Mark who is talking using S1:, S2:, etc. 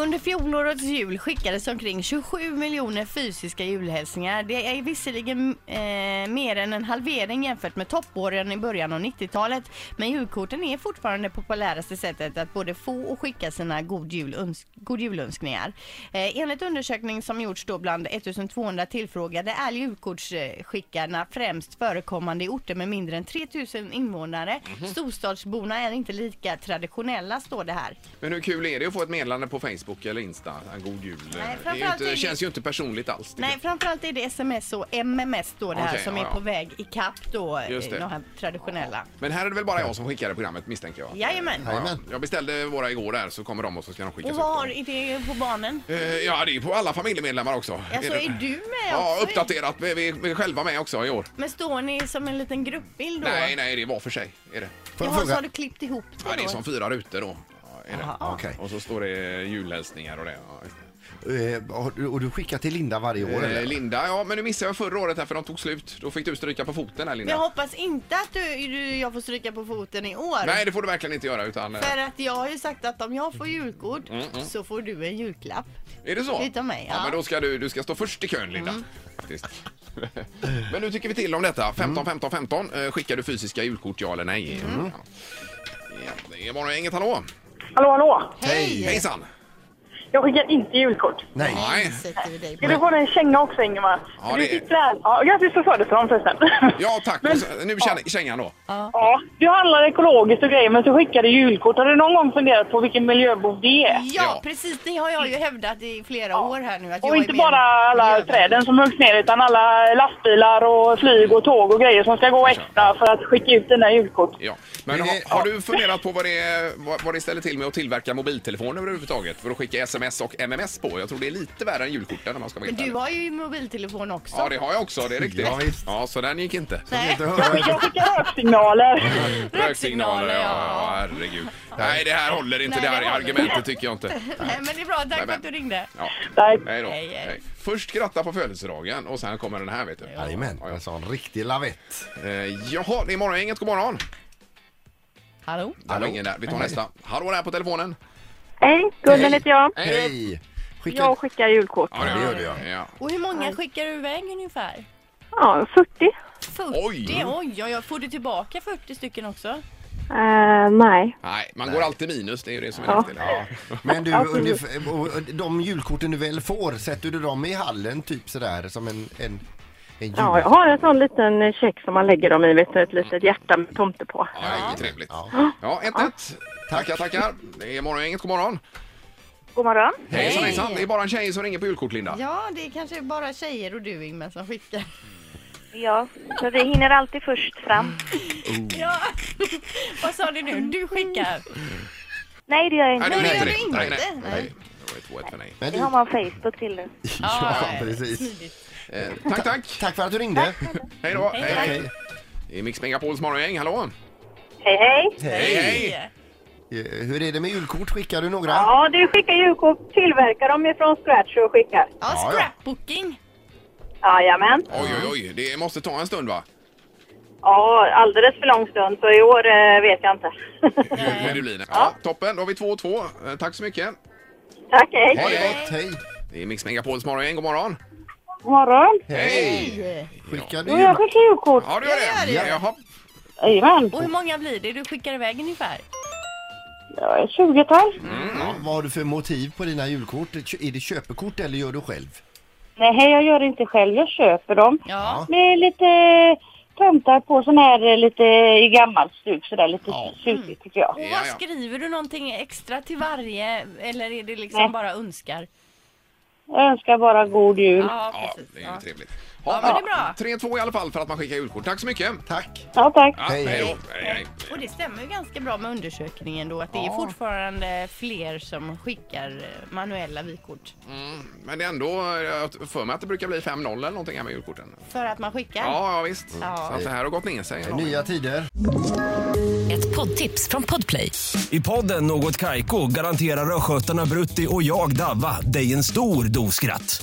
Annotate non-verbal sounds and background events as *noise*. S1: Under fjolårets jul skickades omkring 27 miljoner fysiska julhälsningar. Det är visserligen eh, mer än en halvering jämfört med toppåren i början av 90-talet. Men julkorten är fortfarande det populäraste sättet att både få och skicka sina god, jul, öns- god julönskningar. Eh, enligt undersökning som gjorts då bland 1200 tillfrågade är julkortsskickarna främst förekommande i orter med mindre än 3000 invånare. Storstadsborna är inte lika traditionella står det här.
S2: Men hur kul är det att få ett meddelande på Facebook eller Insta? En god jul. det är ju
S1: framförallt
S2: inte,
S1: är det-
S2: känns ju inte personligt alls. tycker
S1: Nej, framförallt är det sms och MMS då det här
S2: Okej,
S1: som
S2: ja,
S1: är
S2: ja.
S1: på väg i kapp då, eh,
S2: Just det.
S1: de här traditionella.
S2: jag. Men här är det väl bara jag som skickar i programmet misstänker jag.
S1: Jajamän.
S2: Ja, ja. jag beställde våra igår där så kommer de och så ska de skickas
S1: Och vad har
S2: ut.
S1: det på barnen?
S2: Eh, Ja, det är på alla familjemedlemmar också.
S1: Alltså
S2: det-
S1: är du med
S2: Ja,
S1: också?
S2: uppdaterat. Vi vi- vi är själva med också i år.
S1: Men står ni som en liten gruppbild då?
S2: Nej, nej, det är var för sig. Är det.
S3: Får jag
S1: Jaha, så
S3: fråga?
S1: har du klippt ihop det
S2: Ja, det är
S1: då?
S2: som fyra rutor då. Ja, är det.
S1: Jaha.
S3: Okej.
S2: Och så står det julhälsningar och det. Ja, just det.
S3: Eh, har du- Och du skickar till Linda varje år
S2: Eh,
S3: eller?
S2: Linda, ja men nu missade jag förra året här för de tog slut. Då fick du stryka på foten här
S1: Men jag
S2: Linda.
S1: hoppas inte att du, du, jag får stryka på foten i år.
S2: Nej, det får du verkligen inte göra utan... eh,
S1: För att jag har ju sagt att om jag får julkort
S2: Mm,
S1: så får du en julklapp.
S2: Är det så?
S1: Utom mig,
S2: ja.
S1: ja. Mm.
S2: men då ska du, du ska stå först i kön Linda. Faktiskt. *laughs* men nu tycker vi till om detta.
S1: Mm.
S2: 15, 15, 15. Eh, Skickar du fysiska julkort, ja eller nej? Ja. Ja, det är bara inget hallå.
S4: Hallå, hallå!
S1: Hej!
S2: Hejsan!
S4: Jag skickar inte julkort.
S3: Nej.
S2: Nej.
S1: Sätter vi dig
S4: Ska
S1: på.
S4: du få en känga också, Ingemar?
S2: Ja,
S4: du
S2: det är-
S4: sitter här. Ja, grattis på födelsedagen förresten.
S2: Ja, tack.
S4: Men,
S2: Och så, nu känner, kängan då.
S4: ja, du handlar ekologiskt och grejer, men så skickar du julkort. Har du någon gång funderat på vilken miljöbov det är?
S1: Ja, precis. Det har jag ju hävdat i flera år här nu. Att jag
S4: Och inte
S1: är mer
S4: bara alla
S1: miljövänlig.
S4: träden som huggs ner utan alla lastbilar och flyg och tåg och grejer som ska gå extra för att skicka ut dina julkort.
S2: Ja. Men
S3: Men
S2: har,
S3: det-
S2: har du funderat på vad det, vad, vad det ställer till med att tillverka mobiltelefoner överhuvudtaget? För att skicka sms och mms på. Jag tror det är lite värre än julkorten om man ska vara
S1: Men
S2: helt
S1: du
S2: ärlig.
S1: har ju mobiltelefon också.
S2: Ja, det har jag också. Det är riktigt.
S3: Ja, visst.
S2: Ja, så den gick inte.
S1: Nej.
S3: Inte höra.
S4: Jag skickar röksignaler.
S1: Röksignaler, ja.
S2: ja. Herregud. Nej, det här håller inte.
S1: Nej,
S2: det
S1: det
S2: här
S1: håller
S2: argumentet
S1: inte.
S2: tycker jag inte.
S1: Nej, men det är bra. Tack
S2: Nej,
S1: för
S2: men-
S1: att du ringde.
S2: Ja.
S4: Tack.
S2: Hej då.
S1: Hej, hej.
S2: Hej. Först gratta på födelsedagen och sen kommer den här vet du.
S3: Jajamän, en sån riktig lavett.
S2: Eh, jaha, det är morgongänget. God morgon.
S1: Hallå?
S2: Det var
S3: Hallå.
S2: ingen där. Vi tar nästa. Hallå där på telefonen.
S5: Hej, Gunnel heter jag.
S3: Hej! Skicka...
S5: Jag skickar julkort.
S2: Ja,
S3: det gör du, ja.
S2: ja.
S1: Och hur många skickar du iväg ungefär?
S5: Ja, 40.
S1: 40?
S2: Oj.
S1: Oj, oj, oj. Får du tillbaka 40 stycken också?
S5: Eh, nej.
S2: Nej, man går alltid minus. Det är ju det som är nackdelen. Ja.
S3: Men du, ungefär, och- och de julkorten du väl får, sätter du dem i hallen typ sådär som en, en, en jul?
S5: Ja, jag har en sån liten check som man lägger dem i, vet du, ett litet hjärta med tomte på.
S2: Ja, det är ju trevligt.
S3: Ja.
S2: Ja, 1-1. Tackar, tackar. Det är morgongänget. God morgon.
S5: God morgon.
S2: Hejsan, hejsan. Det är bara en tjej som ringer på julkort, Linda.
S1: Ja, det är kanske bara tjejer och du Ingmar som skickar.
S6: Ja, så vi hinner alltid först fram.
S1: Ja. *laughs* Vad sa du nu? Du skickar?
S6: Nej, det gör jag inte.
S2: Nej, det
S1: Nej,
S2: gör
S1: det
S2: det.
S1: gör
S2: Nej,
S1: det
S2: nej.
S1: inte.
S2: nej. Det var ett tvåett för nej.
S3: Men
S6: Det
S3: du,
S6: har
S3: ja,
S6: man Facebook till nu.
S3: *laughs* precis.
S2: Eh, tack, tack.
S3: Tack för att du ringde.
S2: Hej då. Hej,
S1: tack.
S2: hej. Det är Mix Megapols morgongäng. Hallå.
S6: Hej, hej!
S2: Hej, hej.
S3: Eh, Hur är det med julkort? Skickar du några?
S5: Ja, du skickar julkort, tillverkar dem ifrån scratch och skickar.
S1: Ja,
S3: Ja, ja.
S1: scrapbooking.
S5: Jajamän.
S2: Oj, oj, oj. Det måste ta en stund, va?
S5: Ja, alldeles för lång stund, så i år eh, vet jag inte. *laughs*
S2: Hur det blir. det. Ja, toppen, då har vi 2-2. Två och två. Eh, Tack så mycket.
S5: Tack, hej.
S3: Ha det
S2: Hej.
S3: gott, hej!
S2: Det är Mix Megapols morgongäng. God morgon.
S5: God morgon.
S2: Hej!
S3: Skickar du
S5: Jo, jag skickar julkort.
S2: Ja, du gör det. Jaha.
S5: Jajamän.
S1: Och hur många blir det du skickar iväg ungefär?
S5: Ja, ett tjugotal.
S3: Ja, Mm. Vad har du för motiv på dina julkort? Kö- Är det köpekort eller gör du själv?
S5: Nej, jag gör det inte själv. Jag köper dem.
S1: Ja.
S5: Med lite tomtar på sån här eh, lite i gammalt stuk sådär lite
S3: Ja.
S5: tjutigt tycker jag.
S1: Och
S2: Ja,
S1: vad
S2: ja.
S1: skriver du någonting extra till varje eller är det liksom
S5: Nej.
S1: bara önskar?
S5: Jag önskar bara god jul.
S1: Ja,
S2: Ja,
S1: precis.
S2: det är ju
S1: Ja.
S2: trevligt.
S1: Ja, men det är bra.
S2: 3-2 i alla fall för att man skickar julkort. Tack så mycket.
S3: Tack!
S5: Ja, tack.
S2: Ja,
S3: Hej,
S2: hej
S3: hej.
S2: då. Hej, hej.
S1: Och det stämmer ju ganska bra med undersökningen då att det är
S2: Ja.
S1: fortfarande fler som skickar eh, manuella vykort.
S2: Men det är ändå, jag har för mig att det brukar bli 5-0 eller någonting här med julkorten.
S1: För att man skickar?
S2: Ja, ja visst.
S1: Ja.
S2: Så att det här har gått ner sig.
S3: Nya tider.
S7: Ett poddtips från Podplay.
S8: I podden Något Kaiko garanterar östgötarna Brutti och jag, Davva, dig en stor dos skratt.